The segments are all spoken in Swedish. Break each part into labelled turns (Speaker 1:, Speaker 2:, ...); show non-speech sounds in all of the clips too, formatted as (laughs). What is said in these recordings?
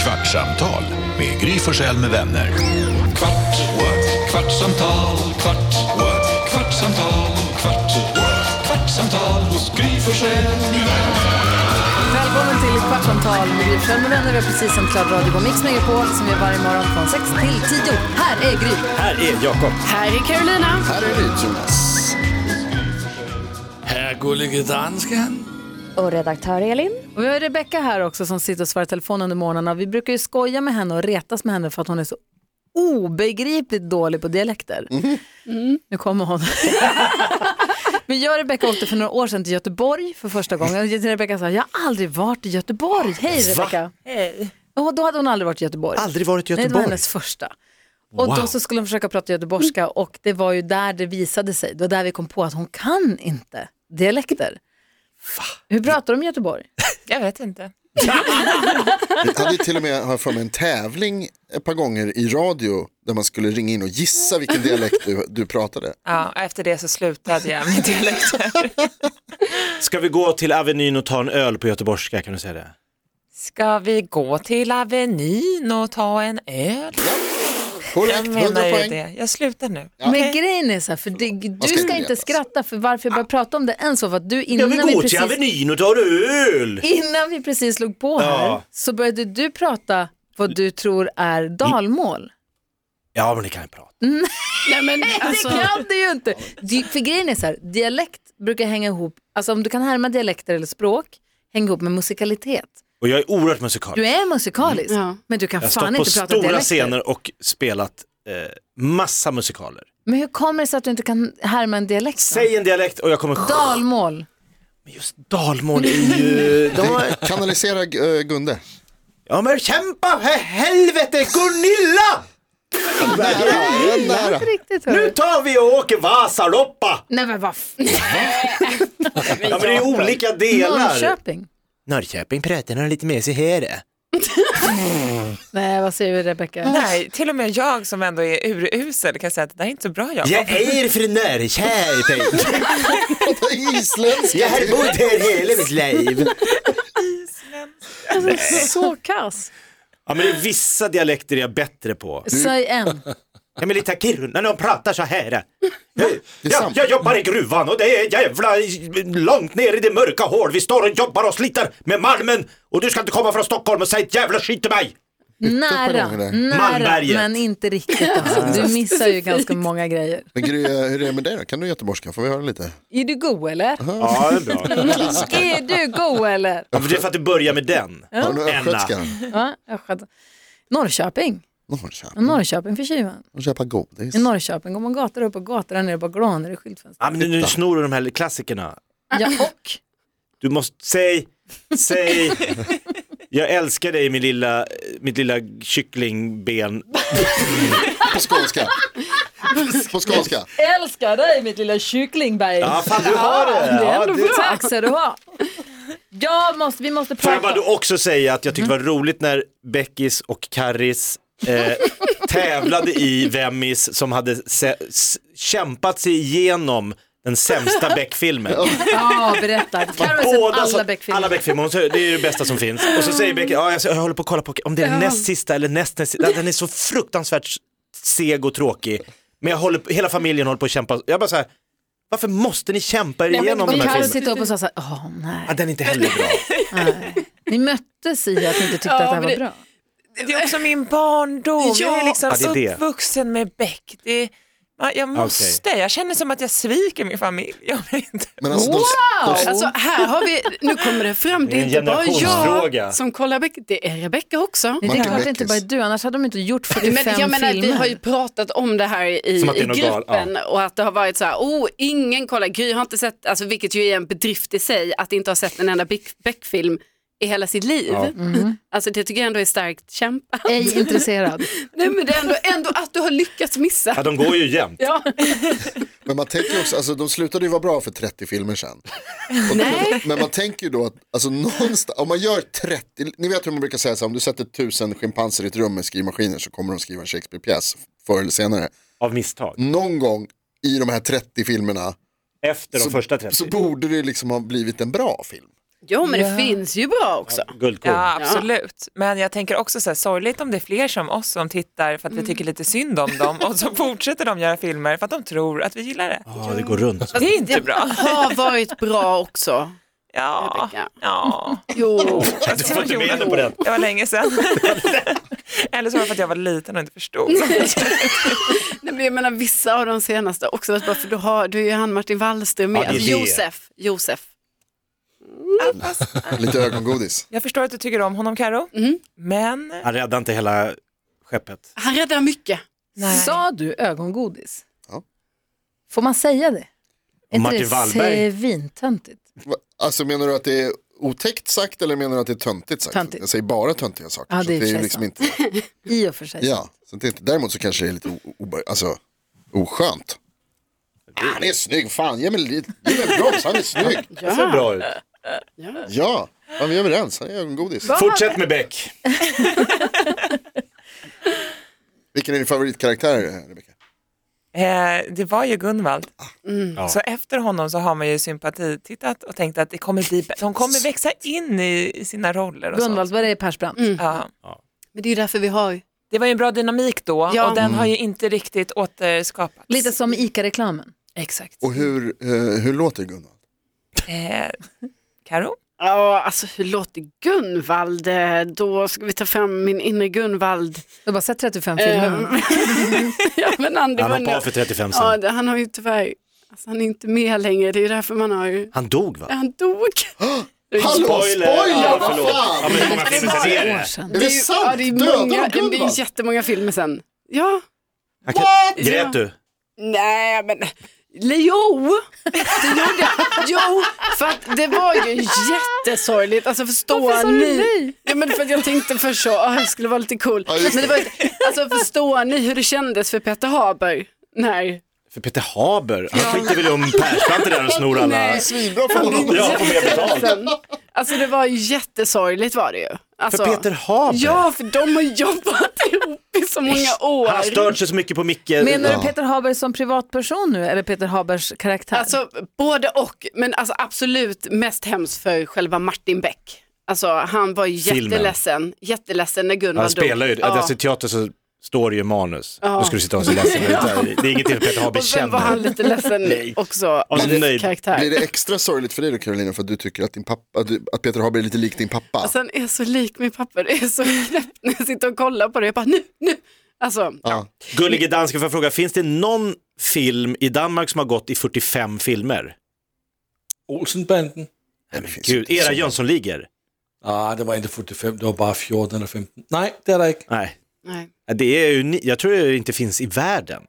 Speaker 1: Kvartsamtal med Gry Forssell med vänner.
Speaker 2: Kvart, what? kvartsamtal, kvart, what? kvartsamtal, kvart, what? kvartsamtal hos Gry Forssell med vänner.
Speaker 3: Välkommen till Kvartsamtal med Gry Forssell med vänner. Vi har precis sänt klart radio på Mix Megapol som vi gör varje morgon från 6 till 10. Här är Gry.
Speaker 4: Här är Jakob.
Speaker 3: Här är Carolina.
Speaker 5: Här är Jonas.
Speaker 4: Här gullige dansken.
Speaker 6: Och redaktör Elin.
Speaker 3: Och vi har Rebecka här också som sitter och svarar i telefon under morgnarna. Vi brukar ju skoja med henne och retas med henne för att hon är så obegripligt dålig på dialekter.
Speaker 5: Mm.
Speaker 3: Nu kommer hon. (laughs) Men jag och Rebecka åkte för några år sedan till Göteborg för första gången. Och Rebecka sa, jag har aldrig varit i Göteborg. Hej Rebecka. Och då hade hon aldrig varit i Göteborg.
Speaker 5: Aldrig varit i
Speaker 3: Nej, det var
Speaker 5: Göteborg.
Speaker 3: hennes första. Och då så skulle hon försöka prata göteborgska och det var ju där det visade sig. Det var där vi kom på att hon kan inte dialekter. Hur pratar de i Göteborg?
Speaker 7: Jag vet inte.
Speaker 5: Vi hade ju till och med, har jag för mig, en tävling ett par gånger i radio där man skulle ringa in och gissa vilken dialekt du, du pratade.
Speaker 7: Ja, och efter det så slutade jag med dialekter.
Speaker 8: Ska vi gå till Avenyn och ta en öl på göteborgska, kan du säga det?
Speaker 7: (laughs) Ska vi gå till Avenyn och ta en öl?
Speaker 5: Korrekt,
Speaker 7: Jag
Speaker 5: 100
Speaker 7: menar ju
Speaker 5: poäng.
Speaker 7: det. Jag slutar nu.
Speaker 3: Men grejen är så här, för det, du
Speaker 5: ska inte
Speaker 3: ska
Speaker 5: veta.
Speaker 3: inte skratta för varför jag
Speaker 8: Ah.
Speaker 3: började prata om det än så för att du
Speaker 8: Jag
Speaker 3: innan
Speaker 8: vill
Speaker 3: vi
Speaker 8: gå till
Speaker 3: Mm, precis,
Speaker 8: Avenyn och ta en öl!
Speaker 3: innan vi precis slog på här
Speaker 8: Ja.
Speaker 3: så började du prata vad du tror är dalmål.
Speaker 8: Ja, men det kan jag prata.
Speaker 3: Det kan du ju inte! Du, för grejen är så här, dialekt brukar hänga ihop, alltså om du kan härma dialekter eller språk, häng ihop med musikalitet.
Speaker 8: Och jag är oerhört musikalisk.
Speaker 3: Du är musikalisk, men du kan
Speaker 8: jag
Speaker 3: fan
Speaker 8: har stått på
Speaker 3: inte prata
Speaker 8: stora
Speaker 3: dialekter.
Speaker 8: scener och spelat eh, massa musikaler.
Speaker 3: Men hur kommer det sig att du inte kan härma en dialekt? då?
Speaker 8: Säg en dialekt och jag kommer...
Speaker 3: Dalmål.
Speaker 8: Men Just dalmål är ju... De har...
Speaker 5: Kanalisera eh, Gunde.
Speaker 8: Ja men kämpa för helvete Gunilla!
Speaker 5: Nära, nära.
Speaker 3: Riktigt,
Speaker 8: Nu
Speaker 3: hörru.
Speaker 8: tar vi och åker Vasaloppa!
Speaker 3: Nej men vad f-
Speaker 8: Ja men det är ju olika delar.
Speaker 3: Norrköping.
Speaker 8: Norrköping pratar nog lite mer så här.
Speaker 3: Nej, vad säger vi Rebecka?
Speaker 7: Nej, till och med jag som ändå är urusel kan säga att det där är inte så bra Jakob.
Speaker 8: Jag är från Norrköping.
Speaker 5: Prata isländska.
Speaker 8: Jag har bott här hela mitt liv.
Speaker 3: Så kass.
Speaker 8: Ja men det är vissa dialekter jag är bättre på.
Speaker 3: Säg en.
Speaker 8: Ja men lite Kiruna, när de pratar så här.
Speaker 5: är
Speaker 8: Jag,
Speaker 5: sant.
Speaker 8: jag jobbar i gruvan och det är jävla långt ner i det mörka hål. Vi står och jobbar och sliter med malmen och du ska inte komma från Stockholm och säga ett jävla skit till mig.
Speaker 3: Nära,
Speaker 5: gånger där.
Speaker 3: nära
Speaker 8: Malmberget.
Speaker 3: men inte riktigt. Alltså. Du missar ju ganska många grejer.
Speaker 5: Men Gry, eh, hur är det med dig då? Kan du göteborgska? Får vi höra lite?
Speaker 3: Är du god eller?
Speaker 8: Ja, det är (laughs) bra.
Speaker 3: Är du god eller?
Speaker 8: Ja, för det är för att du börjar med den.
Speaker 5: Har du
Speaker 8: Enna.
Speaker 5: östgötska?
Speaker 3: Ja, jag skämtar. Norrköping.
Speaker 7: Mm.
Speaker 3: Ja,
Speaker 5: Norrköping.
Speaker 3: Norrköping för tjuven.
Speaker 5: Norrköping godis.
Speaker 3: I Norrköping går man gator upp och gator där nere är bara glaner i skyltfönster.
Speaker 8: Ja, men nu, nu snor du de här klassikerna.
Speaker 3: Ja, och
Speaker 8: Du måste, säg, säg. Jag älskar dig min lilla, mitt lilla kycklingben.
Speaker 5: På skånska. På skånska.
Speaker 3: älskar dig mitt lilla kycklingberg.
Speaker 8: Ja, fan du har det. Ja, du-
Speaker 3: Tack ska du ha. Jag måste, vi måste
Speaker 8: Får jag bara
Speaker 3: prata.
Speaker 8: då också säga att jag tyckte det var roligt när Beckis och Karris
Speaker 3: (laughs)
Speaker 8: eh, tävlade i Vemmis som hade se- s- kämpat sig igenom den
Speaker 3: (laughs)
Speaker 8: sämsta Beck-filmen.
Speaker 3: Ja, berätta. Carro har sett alla
Speaker 8: sa- alla
Speaker 3: Beck-filmer.
Speaker 8: Beck-filmer, Hon sa, det är det bästa som finns. Och så säger Beck, ja, jag, jag håller på att kolla på om det är den näst sista eller näst näst sista, den är så fruktansvärt seg och tråkig. Men jag håller, på- hela familjen håller på att kämpa, jag bara så här, varför måste ni kämpa er igenom
Speaker 3: Och
Speaker 8: den här
Speaker 3: Carro
Speaker 8: filmen?
Speaker 3: sitter upp och sa så här, åh
Speaker 8: Ja,
Speaker 3: nej,
Speaker 8: den är inte heller bra.
Speaker 3: nej. (laughs) Ni möttes i att ni inte tyckte att det här var bra.
Speaker 7: Det är också min barndom. Jag är liksom
Speaker 8: Ja, det är det.
Speaker 7: uppvuxen med Beck. Det är... ja, Jag måste, jag känner som att jag sviker min familj. Jag vet inte.
Speaker 5: Men alltså, de, de,
Speaker 9: Alltså här har vi, nu kommer det fram, det
Speaker 8: Det är
Speaker 9: är
Speaker 8: en
Speaker 9: inte bara
Speaker 8: generationsfråga.
Speaker 9: jag som kollar Beck, det är Rebecca också.
Speaker 3: Det är
Speaker 5: Martin
Speaker 3: klart det inte bara är
Speaker 5: Beckis.
Speaker 3: du, annars hade de inte gjort 45
Speaker 9: Men jag menar, vi har ju
Speaker 3: filmer.
Speaker 9: pratat om det här i,
Speaker 8: Som att det
Speaker 9: i
Speaker 8: är något gal-
Speaker 9: gruppen och att det har varit så här, oh, ingen kollar, Gry har inte sett, alltså, vilket ju är en bedrift i sig, att inte ha sett en enda Beck- Beck-film i hela sitt liv.
Speaker 7: Mm-hmm.
Speaker 9: Alltså det tycker jag ändå är starkt kämpat. (laughs)
Speaker 3: Ej intresserad.
Speaker 9: Nej men det är ändå, ändå att du har lyckats
Speaker 8: Ja,
Speaker 9: missa.
Speaker 8: de
Speaker 3: (laughs)
Speaker 8: går ju jämt.
Speaker 9: Ja.
Speaker 5: men man tänker också, alltså, de slutade ju vara bra för 30
Speaker 3: (laughs)
Speaker 5: filmer sedan. Och, men, men man tänker ju då att alltså, någonstans, om man gör 30, ni vet hur man brukar säga så här, om du sätter tusen schimpanser i ett rum med skrivmaskiner så kommer de skriva en Shakespeare-pjäs förr eller senare.
Speaker 8: Av misstag.
Speaker 5: någon gång i de här 30 filmerna
Speaker 8: Efter de första 30.
Speaker 5: så borde det liksom ha blivit en bra film.
Speaker 3: Jo, men det finns ju bra också.
Speaker 8: Guldkorn.
Speaker 7: Ja, absolut. Men jag tänker också så här, sorgligt om det är fler som oss som tittar för att vi tycker lite synd om dem och så fortsätter de göra filmer för att de tror att vi gillar det.
Speaker 8: Ja, det går runt.
Speaker 7: Det är inte bra.
Speaker 3: Har varit bra också.
Speaker 7: Ja,
Speaker 3: Rebecka.
Speaker 7: ja.
Speaker 3: Jo.
Speaker 8: Du får inte med henne på den.
Speaker 7: Det var länge
Speaker 8: (laughs)
Speaker 7: sedan. Eller så var det för att jag var liten och inte
Speaker 9: (laughs)
Speaker 7: förstod.
Speaker 9: Nej, men jag menar vissa av de senaste också, varit bra, för du, har, du är ju han Martin Wallström med.
Speaker 8: Ja, det är
Speaker 9: alltså,
Speaker 8: det.
Speaker 9: Josef, Josef.
Speaker 5: Lite ögongodis.
Speaker 7: Jag förstår att du tycker om honom Karo,
Speaker 9: Mm.
Speaker 7: men
Speaker 8: Han räddar inte hela skeppet.
Speaker 9: Han räddar mycket.
Speaker 7: nej.
Speaker 3: Sa du ögongodis?
Speaker 5: Ja.
Speaker 3: Får man säga det? Är inte
Speaker 8: Martin Wallberg.
Speaker 3: det svintöntigt?
Speaker 5: Va- Alltså menar du att det är otäckt sagt eller menar du att det är töntigt sagt?
Speaker 3: Töntigt.
Speaker 5: Jag säger bara töntiga saker.
Speaker 3: Ja,
Speaker 5: så
Speaker 3: det är
Speaker 5: att det är
Speaker 3: precis
Speaker 5: liksom
Speaker 3: så.
Speaker 5: inte,
Speaker 3: I och för sig.
Speaker 5: ja, så att det är inte, däremot så kanske det är lite o, obe- alltså, oskönt. Ah, Han är snygg, fan ge mig lite, ge mig en broms, han är snygg.
Speaker 8: Det ser bra ut.
Speaker 5: Ja, ja, vi är överens, han är ögongodis.
Speaker 8: Fortsätt med Beck.
Speaker 5: Vilken är din favoritkaraktär Rebecka?
Speaker 7: Eh, det var ju Gunvald.
Speaker 9: Mm.
Speaker 7: Så efter honom så har man ju sympati tittat och tänkt att det kommer bli, de kommer växa in i, i sina roller. Och sånt.
Speaker 3: Gunvaldsberg är Persbrandt.
Speaker 9: Mm.
Speaker 7: Ja.
Speaker 9: Men det är ju därför vi har
Speaker 7: Det var ju en bra dynamik då
Speaker 9: Ja.
Speaker 7: och den har
Speaker 8: Mm.
Speaker 7: ju inte riktigt återskapats.
Speaker 3: Lite som i ICA-reklamen.
Speaker 7: Exakt.
Speaker 5: Och hur, eh, hur låter Gunnar?
Speaker 7: Eh, Karo?
Speaker 9: Ja, alltså hur låter Gunvald? Eh, Då ska vi ta fram min inre Gunvald.
Speaker 3: Jag har bara sett 35 filmer.
Speaker 9: Eh, (laughs) ja, men han, det
Speaker 8: Han
Speaker 9: var
Speaker 8: hoppade
Speaker 9: nu-
Speaker 8: av för 35
Speaker 9: ja,
Speaker 8: sen.
Speaker 9: det, han har ju tyvärr, alltså, han är inte med längre. Det är ju därför man har ju,
Speaker 8: Han dog va?
Speaker 9: han dog. Det är ju-
Speaker 5: Ah! Hallå, spoiler,
Speaker 8: Ja,
Speaker 5: vad
Speaker 8: förlåt. Ja,
Speaker 5: fan!
Speaker 8: men hur många filmer sen är det?
Speaker 5: Är det
Speaker 9: ju-
Speaker 5: sant?
Speaker 9: Ja, det är ju
Speaker 5: Dödade
Speaker 9: många,
Speaker 5: de
Speaker 9: ja, men det är
Speaker 5: Gunvald?
Speaker 9: ju jättemånga filmer sen. Ja,
Speaker 8: Han kan- Grät du?
Speaker 9: nej men, jo, det gjorde jag. Jo, för att det var ju jättesorgligt. Alltså förstår
Speaker 3: Varför sa du nej?
Speaker 9: ni? Ja, men för att jag tänkte först så, ah, jag skulle vara lite cool.
Speaker 5: Ja, just
Speaker 9: Men det var, ju- alltså förstår ni hur det kändes för Peter Haber? när
Speaker 8: För Peter Haber, han skiter väl i om Persbrandt är där och snor alla...
Speaker 9: Nej.
Speaker 5: Svinbra för honom.
Speaker 8: Ja, han får mer betalt.
Speaker 9: Sen, alltså det var ju jättesorgligt var det ju. Alltså,
Speaker 8: För Peter Haber?
Speaker 9: Ja, för de har jobbat ihop i så många år.
Speaker 8: Han har stört sig så mycket på Micke.
Speaker 3: Menar du Peter Haber som privatperson nu eller Peter Habers karaktär?
Speaker 9: Alltså både och, men alltså absolut mest hemskt för själva Martin Beck. Alltså han var ju
Speaker 8: Filmen.
Speaker 9: jätteledsen, jätteledsen när Gunvald
Speaker 8: Han spelar ju,
Speaker 9: dog. Ja.
Speaker 8: alltså i teater så står det ju manus. Då ska du sitta och se ledsen ut. där. Det är ingenting Peter Haber
Speaker 9: Och sen var han
Speaker 8: känner.
Speaker 9: lite ledsen
Speaker 8: (laughs) Nej.
Speaker 9: också av
Speaker 8: så
Speaker 9: sin
Speaker 8: nöjd.
Speaker 9: karaktär.
Speaker 5: Blir det extra sorgligt för dig då Carolina för att du tycker att, din pappa, att, du, att Peter Haber är lite lik din pappa?
Speaker 9: Alltså han är så lik min pappa, det är så (laughs) knäppt när jag sitter och kollar på det. Jag bara nu, nu. Alltså,
Speaker 5: ja.
Speaker 8: Gullige dansken, får jag fråga, finns det någon film i Danmark som har gått i 45 filmer?
Speaker 4: Olsenbanden?
Speaker 5: Nej, det finns
Speaker 8: Gud,
Speaker 5: inte
Speaker 8: era
Speaker 5: så.
Speaker 8: Jönssonligor?
Speaker 4: Ah, det var inte 45, det var bara 14 eller 15. Nej, det är det inte.
Speaker 8: Nej,
Speaker 9: nej.
Speaker 8: det är uni- jag tror det inte finns i världen.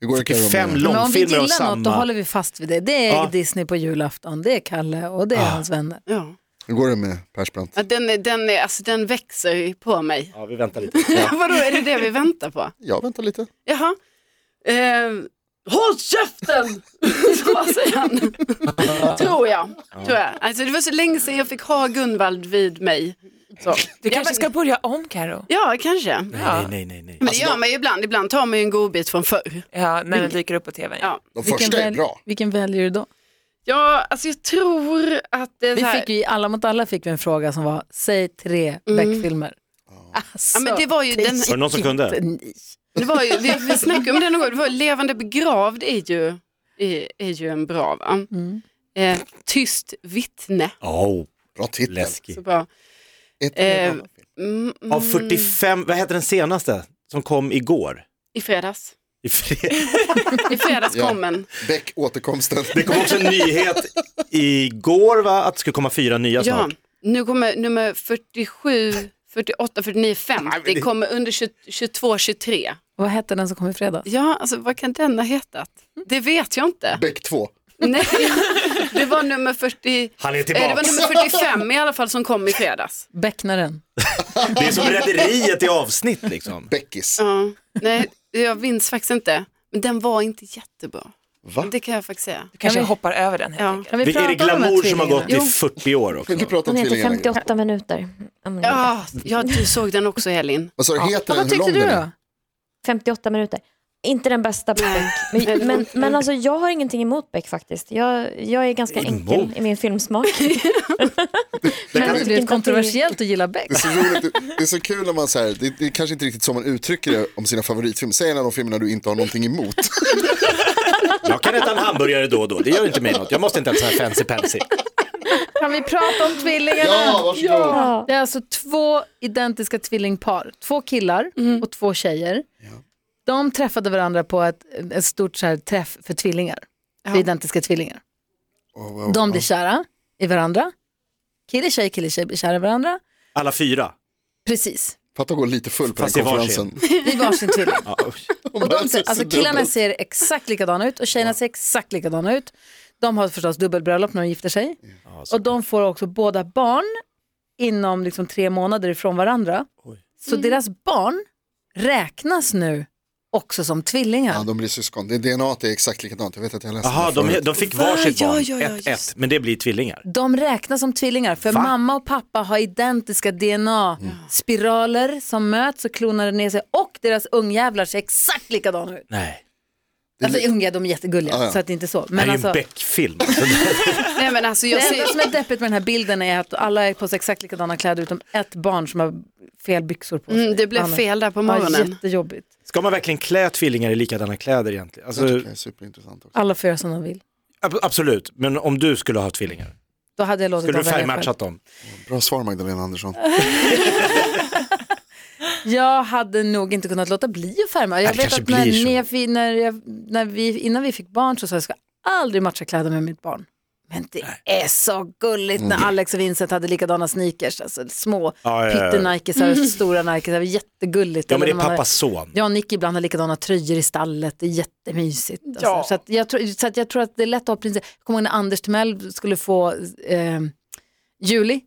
Speaker 5: Hur går det Carolina?
Speaker 8: 45
Speaker 3: Men om vi
Speaker 8: långfilmer
Speaker 3: gillar
Speaker 8: av samma.
Speaker 3: något då håller vi fast vid det. Det är
Speaker 8: Ja.
Speaker 3: Disney på julafton, det är Kalle och det är hans vänner.
Speaker 9: Ja.
Speaker 5: Hur går det med Persbrandt?
Speaker 9: Ja, Den, är, den, är, alltså, den växer på mig.
Speaker 8: Ja, vi väntar
Speaker 9: (laughs)
Speaker 8: lite.
Speaker 9: Vadå, är det det vi väntar på?
Speaker 5: Jag väntar lite.
Speaker 9: Jaha. Eh, Håll käften! (laughs) Så vad säger han. Tror jag. Tror jag. Alltså, det var så länge sedan jag fick ha Gunvald vid mig. Så.
Speaker 7: Du
Speaker 9: Ja,
Speaker 7: kanske
Speaker 9: men-
Speaker 7: ska börja om Karo?
Speaker 9: Ja, kanske.
Speaker 8: Nej, nej, nej, nej.
Speaker 9: Men det gör man ju ibland. Ibland tar man ju en godbit från förr.
Speaker 7: Ja, när den dyker upp på tvn.
Speaker 9: Ja.
Speaker 5: De första är
Speaker 3: väl-
Speaker 5: bra.
Speaker 3: vilken väljer du då?
Speaker 9: Ja, alltså jag tror att det är
Speaker 3: Vi
Speaker 9: så här... Mm.
Speaker 3: fick ju, i Alla mot alla fick vi en fråga som var, säg tre Beck-filmer. Alltså,
Speaker 9: Ja, men det var ju den...
Speaker 8: Var det någon som kunde?
Speaker 3: Nej.
Speaker 9: Det var ju, vi, vi snackade om det någon gång, det var ju levande begravd är ju, är, är ju en bra va? Eh, tyst vittne.
Speaker 8: Åh, oh,
Speaker 5: Bra titel.
Speaker 8: läskig.
Speaker 9: Så bra.
Speaker 5: Ett
Speaker 9: Eh,
Speaker 5: bra film.
Speaker 9: Mm,
Speaker 8: Av 45, vad heter den senaste som kom igår?
Speaker 9: mm, I fredags.
Speaker 8: I fred-
Speaker 9: I fredags
Speaker 5: Ja.
Speaker 9: kom den.
Speaker 5: Beck återkomsten.
Speaker 8: Det kom också en nyhet igår va, att det skulle komma fyra nya
Speaker 9: Ja,
Speaker 8: snart.
Speaker 9: nu kommer nummer 47, 48, 49, 50. Kommer under 20, 22, 23.
Speaker 3: Vad hette den som kom i fredags?
Speaker 9: Ja, alltså vad kan den ha hetat? Det vet jag inte.
Speaker 5: (laughs) Beck 2.
Speaker 8: (laughs)
Speaker 9: Nej, det var nummer 40...
Speaker 8: Han är
Speaker 9: Eh, Det var
Speaker 8: tillbaks.
Speaker 9: nummer 45 i alla fall som kom
Speaker 8: (laughs)
Speaker 9: i fredags.
Speaker 3: Becknaren.
Speaker 8: Det är som Rederiet i avsnitt liksom.
Speaker 5: Beckis.
Speaker 9: Ja, nej, jag minns faktiskt inte. Men den var inte jättebra.
Speaker 5: Va?
Speaker 9: Det kan jag faktiskt säga.
Speaker 7: Du kanske
Speaker 3: Ja, men-
Speaker 7: hoppar över den helt
Speaker 9: Ja.
Speaker 7: enkelt.
Speaker 3: Kan vi
Speaker 8: Det är
Speaker 3: prata
Speaker 8: det
Speaker 3: om de här
Speaker 8: glamour som har
Speaker 3: tvillingarna?
Speaker 8: gått eh, i 40 år
Speaker 5: Kan
Speaker 8: också.
Speaker 5: inte prata om
Speaker 6: Den heter
Speaker 5: tvillingar längre.
Speaker 6: 58 minuter. om ni vet.
Speaker 9: Ja, ja, du såg den också Elin.
Speaker 5: Vad sa du, heter
Speaker 3: Ja,
Speaker 5: den?
Speaker 3: vad
Speaker 5: Hur
Speaker 3: tyckte
Speaker 5: lång
Speaker 3: du
Speaker 5: den är?
Speaker 3: då?
Speaker 6: 58 minuter. Inte den bästa på Beck. Men, men, men alltså, jag har ingenting emot Beck faktiskt. Jag, jag är ganska enkel i min filmsmak.
Speaker 3: Det
Speaker 6: jag tycker
Speaker 3: är det
Speaker 6: inte att
Speaker 3: är kontroversiellt att gilla Beck.
Speaker 5: Det är så roligt, det- det är så kul när man så här, det, det är kanske inte riktigt så man uttrycker det om sina favoritfilmer. Säg en av de filmerna du inte har någonting emot.
Speaker 8: Jag kan äta en hamburgare då och då, det gör inte mig något. Jag måste inte äta så här fancy pansy.
Speaker 3: Kan vi prata om tvillingarna?
Speaker 5: Ja, varsågod.
Speaker 6: Ja.
Speaker 3: Det är alltså två identiska tvillingpar. Två killar och två tjejer. De träffade varandra på ett, ett stort så här träff för tvillingar. För identiska tvillingar. De blir kära i varandra. Kille, tjej, kille, tjej blir kära i varandra.
Speaker 8: Alla fyra.
Speaker 3: Precis,
Speaker 5: Fatta gå lite full på
Speaker 8: Fast
Speaker 5: den
Speaker 8: i varsin.
Speaker 5: konferensen.
Speaker 3: i varsin tvilling.
Speaker 8: Ja, usch.
Speaker 5: Om
Speaker 3: Och
Speaker 5: man
Speaker 3: de,
Speaker 5: ser-
Speaker 3: ser- alltså
Speaker 5: ser
Speaker 3: killarna
Speaker 5: dubbel.
Speaker 3: ser exakt likadana ut och tjejerna ser exakt likadana ut. De har förstås dubbelbröllop när de gifter sig. och de får också båda barn inom liksom tre månader ifrån varandra. Så
Speaker 9: Mm.
Speaker 3: deras barn räknas nu också som tvillingar.
Speaker 5: Ja, de blir syskon. Det DNA är exakt likadant. Jag vet att jag läste
Speaker 8: Jaha,
Speaker 5: det förut.
Speaker 8: de, de fick varsitt
Speaker 9: Va? Ja,
Speaker 8: barn,
Speaker 9: ja, ja,
Speaker 8: ett, ett, men det blir tvillingar.
Speaker 3: De räknas som tvillingar för mamma och pappa har identiska DNA-spiraler som möts och klonar ner sig och deras ungjävlar ser exakt likadana ut.
Speaker 8: Nej,
Speaker 3: Alltså unga, de är jättegulliga
Speaker 5: Ja, ja.
Speaker 3: så att det är inte så.
Speaker 8: det här
Speaker 3: Men
Speaker 8: är ju
Speaker 3: alltså,
Speaker 8: en Beck-film.
Speaker 9: Nej, men alltså, jag
Speaker 3: det
Speaker 9: ser,
Speaker 3: enda som är deppigt med den här bilden är att alla är på sig exakt likadana kläder utom ett barn som har fel byxor på sig.
Speaker 9: Mm, det blev
Speaker 3: Anna.
Speaker 9: fel där på
Speaker 3: Ja,
Speaker 9: morgonen.
Speaker 3: jättejobbigt.
Speaker 8: Ska man verkligen klä tvillingar i likadana kläder egentligen?
Speaker 5: Det
Speaker 8: Alltså,
Speaker 5: tycker jag är superintressant också.
Speaker 3: Alla får göra som de vill.
Speaker 8: ab- absolut, men om du skulle ha tvillingar,
Speaker 3: Då hade jag låtit
Speaker 8: skulle du
Speaker 3: dem välja själv.
Speaker 8: färgmatchat dem?
Speaker 5: Bra svar Magdalena Andersson.
Speaker 3: Jag hade nog inte kunnat låta bli att färgmatcha. Jag
Speaker 8: det
Speaker 3: vet
Speaker 8: kanske
Speaker 3: att när,
Speaker 8: blir så.
Speaker 3: när, jag, när, jag, när vi, innan vi fick barn så sa jag att jag ska aldrig matcha kläder med mitt barn. Men det är så gulligt när Alex och Vincent hade likadana sneakers, alltså små
Speaker 8: Mm. Ja, ja, ja.
Speaker 3: pyttenikesar och stora nikesar, det var jättegulligt.
Speaker 8: Ja, men det
Speaker 3: Eller
Speaker 8: är
Speaker 3: när man har-
Speaker 8: pappas son.
Speaker 3: Jag och Nick ibland har likadana tröjor i stallet, det är jättemysigt. Alltså. Så, att jag tror, så att jag tror att det är lätt att ha principer. Jag kommer ihåg när Anders Timell skulle få eh, Julie,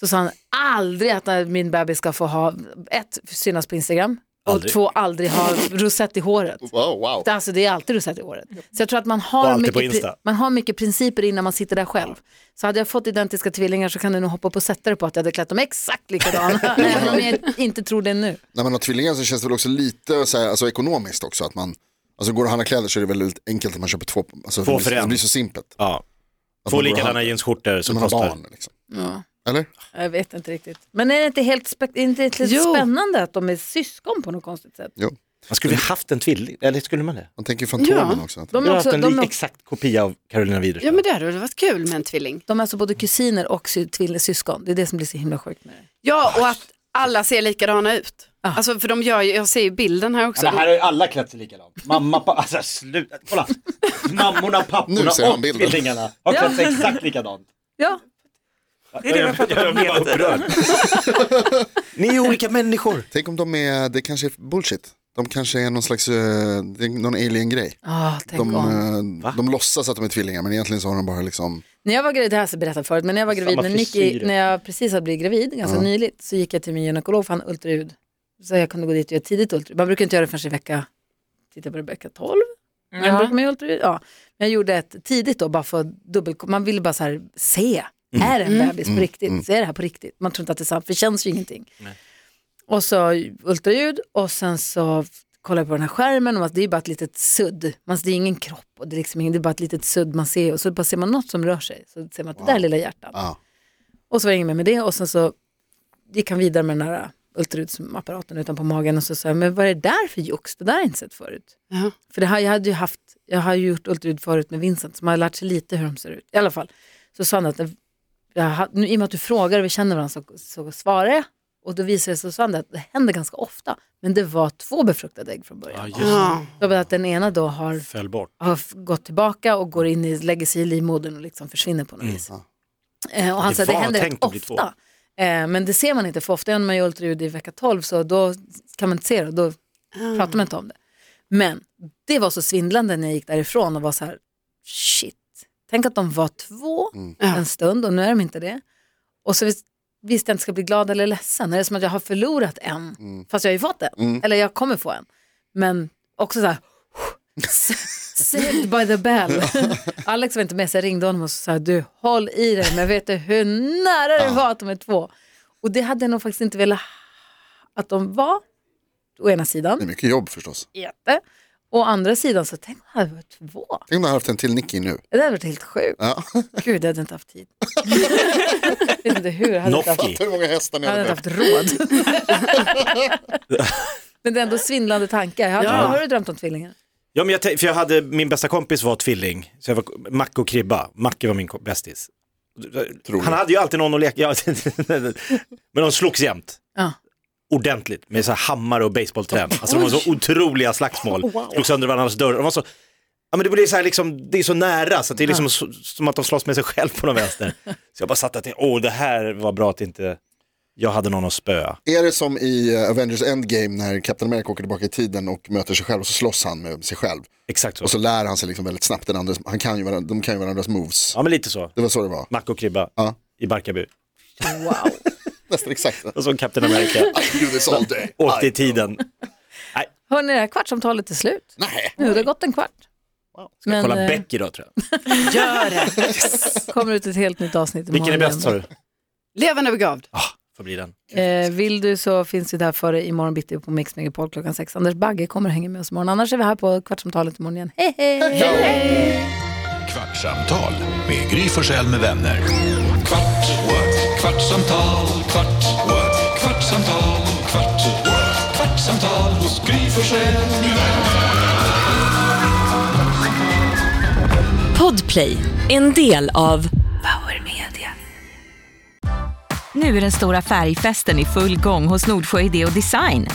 Speaker 3: så sa han aldrig att när min bebis ska få ha, ett, synas på Instagram och
Speaker 8: Aldrig.
Speaker 3: två, aldrig ha rosett i håret.
Speaker 5: Wow, wow.
Speaker 3: Det- Alltså det är alltid rosett i håret. Så jag tror att man
Speaker 8: Och
Speaker 3: har,
Speaker 8: alltid
Speaker 3: mycket,
Speaker 8: på
Speaker 3: pri-
Speaker 8: Insta.
Speaker 3: man har mycket principer innan man sitter där själv. Så hade jag fått identiska tvillingar så kan du nog hoppa på och sätta dig på att jag hade klätt dem exakt
Speaker 8: (laughs)
Speaker 3: likadana. även om jag inte tror det nu.
Speaker 5: När man har tvillingar så känns det väl också lite så här, alltså, ekonomiskt också. Att man, alltså, går det att handla kläder så är det väldigt enkelt att man köper två. Alltså,
Speaker 8: Två
Speaker 5: det
Speaker 8: för
Speaker 5: blir-
Speaker 8: en.
Speaker 5: Det blir så simpelt.
Speaker 8: Ja.
Speaker 5: Att
Speaker 8: Två
Speaker 5: man går och
Speaker 8: likadana
Speaker 5: handlar-
Speaker 8: jeansskjortor
Speaker 5: Som
Speaker 8: som
Speaker 5: har
Speaker 8: kostar.
Speaker 5: barn. Liksom. Eller?
Speaker 3: Jag vet inte riktigt. Men är det inte helt spe- är det inte lite
Speaker 9: Jo.
Speaker 3: spännande att de är syskon på något konstigt sätt?
Speaker 5: Jo.
Speaker 8: Man Alltså, skulle ju haft en tvilling, eller skulle man det?
Speaker 5: Man tänker ju Fantomen
Speaker 9: Ja.
Speaker 5: också. Att,
Speaker 3: De
Speaker 8: Jag
Speaker 3: är,
Speaker 8: har
Speaker 3: också,
Speaker 8: haft en
Speaker 3: de,
Speaker 8: lik,
Speaker 3: är, också-
Speaker 8: exakt kopia av Carolina Widerström.
Speaker 9: ja, men det hade varit kul med en tvilling.
Speaker 3: de är alltså både kusiner och sy- tvill- syskon. Det är det som blir så himla sjukt med det.
Speaker 9: Ja, och att alla ser likadana ut.
Speaker 3: Ah.
Speaker 9: Alltså, för de gör ju, jag ser ju bilden här också.
Speaker 8: Ja, men här har ju alla klätt sig likadant. Mamma, pappa, alltså sluta, kolla. Mammorna,
Speaker 5: Nu
Speaker 8: papporna
Speaker 5: ser han
Speaker 8: och
Speaker 5: bilden.
Speaker 8: tvillingarna har klätt sig exakt likadant.
Speaker 3: Ja,
Speaker 7: Det är det vi pratar om hela tiden.
Speaker 8: Ni är olika människor.
Speaker 5: tänk om de är, det kanske är bullshit. De kanske är någon slags, eh, det är någon alien-grej.
Speaker 3: ah, tänk
Speaker 5: De,
Speaker 3: om.
Speaker 5: eh, de låtsas att de är tvillingar men egentligen så har de bara liksom,
Speaker 3: När jag var gravid, det här har jag berättat förut, men när jag var gravid,
Speaker 8: Samma
Speaker 3: när, Nicky,
Speaker 8: frisyrer.
Speaker 3: när jag precis hade blivit gravid, ganska nyligt, så gick jag till min gynekolog för han hade ultraljud. Så jag kunde gå dit och göra tidigt ultraljud. Man brukar inte göra det förrän i vecka, titta på det, vecka 12. Men
Speaker 7: Ja.
Speaker 3: brukar man göra ultraljud? Ja. Men jag gjorde ett tidigt då, bara för att dubbel, man ville bara så här, se, är det en
Speaker 9: Mm.
Speaker 3: bebis
Speaker 5: Mm.
Speaker 8: Mm,
Speaker 3: på riktigt? Så är det här på riktigt? Man tror inte att det är sant, för det känns ju ingenting. Och så ultraljud och sen så kollar jag på den här skärmen och alltså, det är bara ett litet sudd. Man, det är ingen kropp och det är, liksom ingen, det är bara ett litet sudd man ser och så bara ser man något som rör sig. Så ser man att det där lilla hjärtat.
Speaker 5: Ja.
Speaker 3: Och så var det inget mer med det och sen så gick han vidare med den här ultraljudsapparaten utanpå magen och så sa jag, men vad är det där för jox? Det där har jag inte sett förut.
Speaker 9: Ja.
Speaker 3: För det här, jag hade ju haft, jag har ju gjort ultraljud förut med Vincent som har lärt sig lite hur de ser ut. I alla fall så sa han att, det- jag, har- nu, i och med att du frågar och vi känner varandra så, så svarar jag. Och då visade det sig, så sa han det, att det händer ganska ofta. Men det var två befruktade ägg från början.
Speaker 9: Ja.
Speaker 3: Så bara att den ena då har
Speaker 8: Föll bort.
Speaker 3: har f- gått tillbaka och går in i, lägger sig i livmodern och liksom försvinner på något vis. Eh, och han
Speaker 8: Mm. Det
Speaker 3: sa att det
Speaker 8: var
Speaker 3: händer rätt
Speaker 8: tänkt att bli två.
Speaker 3: ofta. Eh, men det ser man inte för ofta när man gör ultraljud i vecka 12 så då kan man inte se det, då pratar man inte om det. Men det var så svindlande när jag gick därifrån och var så här, shit, tänk att de var två
Speaker 9: Mm.
Speaker 3: en stund och nu är de inte det. Och så vis- visste jag inte ska bli glad eller ledsen, är det som att jag har förlorat en, fast jag har ju fått en, eller jag kommer få en. Men också så här, Saved by the bell. Alex var inte med så jag ringde honom och sa du håll i dig men vet du hur nära det var att de är två. Och det hade jag nog faktiskt inte velat att de var. Å ena
Speaker 5: det är
Speaker 3: sidan.
Speaker 5: mycket jobb förstås.
Speaker 3: Jätte. Å andra sidan så tänk om jag hade varit två.
Speaker 5: Tänk om du hade haft en till Nicky nu.
Speaker 3: Det hade varit helt sjukt.
Speaker 5: Ja. (laughs)
Speaker 3: Gud, jag hade inte haft tid. jag vet inte hur, jag hade inte haft,
Speaker 8: Nofki.
Speaker 5: Hur många hästar ni
Speaker 3: jag hade
Speaker 5: hade
Speaker 3: inte
Speaker 5: med?
Speaker 3: haft råd. (laughs) Men det är ändå svindlande tankar. Jag Har, har du drömt om tvillingar?
Speaker 8: Ja, men jag, tänk- för jag hade, min bästa kompis var tvilling, så jag var Macke och Kribba. Macke var min ko- bästis. Han hade ju alltid någon att leka, ja, (laughs) men de slogs jämt.
Speaker 3: Ja.
Speaker 8: Ordentligt, med så här hammare och basebollträn. Alltså de var så otroliga slagsmål. Slog sönder varandras dörrar. De var så, ja, men det, blir så här liksom, det är så nära, så att det är liksom så, som att de slåss med sig själv på någon vänster. Så jag bara satt där och tänkte, åh det här var bra att inte jag hade någon att spöa.
Speaker 5: Är det som i eh, Avengers Endgame när Captain America åker tillbaka i tiden och möter sig själv och så slåss han med sig själv.
Speaker 8: Exakt så.
Speaker 5: Och så lär han sig liksom väldigt snabbt den andres, han kan ju varandra, de kan ju varandras moves.
Speaker 8: Ja men lite så.
Speaker 5: Det var så det var.
Speaker 8: Macke och Kribba
Speaker 5: Ja.
Speaker 8: i Barkarby.
Speaker 3: Wow.
Speaker 5: Nästan
Speaker 8: (laughs)
Speaker 5: exakt.
Speaker 8: Och så Captain America.
Speaker 5: I do this all day.
Speaker 8: Åkte i tiden.
Speaker 3: Hörni, det här kvartsamtalet är slut.
Speaker 5: Nej.
Speaker 3: Nu har det gått en kvart.
Speaker 8: Ska
Speaker 3: Men,
Speaker 8: kolla
Speaker 3: eh,
Speaker 8: Beck idag tror jag.
Speaker 9: Gör det.
Speaker 3: kommer ut ett helt nytt avsnitt imorgon.
Speaker 8: Vilken är bäst
Speaker 3: igen.
Speaker 8: sa du?
Speaker 9: Levande begravd.
Speaker 8: Får bli den.
Speaker 3: Eh, vill du så finns vi där för dig imorgon bitti på Mix Megapol klockan sex. Anders Bagge kommer hänga med oss imorgon. Annars är vi här på Kvartsamtalet imorgon igen. Hej, hej!
Speaker 1: Kvartsamtal med Gry Forssell med vänner.
Speaker 2: Kvart, what? kvartsamtal, kvart, what? kvartsamtal, kvart, what? kvartsamtal hos Gry Forssell med vänner.
Speaker 10: Podplay, en del av Power Media. Nu är den stora färgfesten i full gång hos Nordsjö Idé och Design.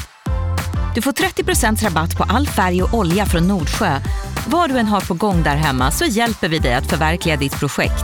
Speaker 10: Du får 30 rabatt på all färg och olja från Nordsjö. Vad du än har på gång där hemma så hjälper vi dig att förverkliga ditt projekt.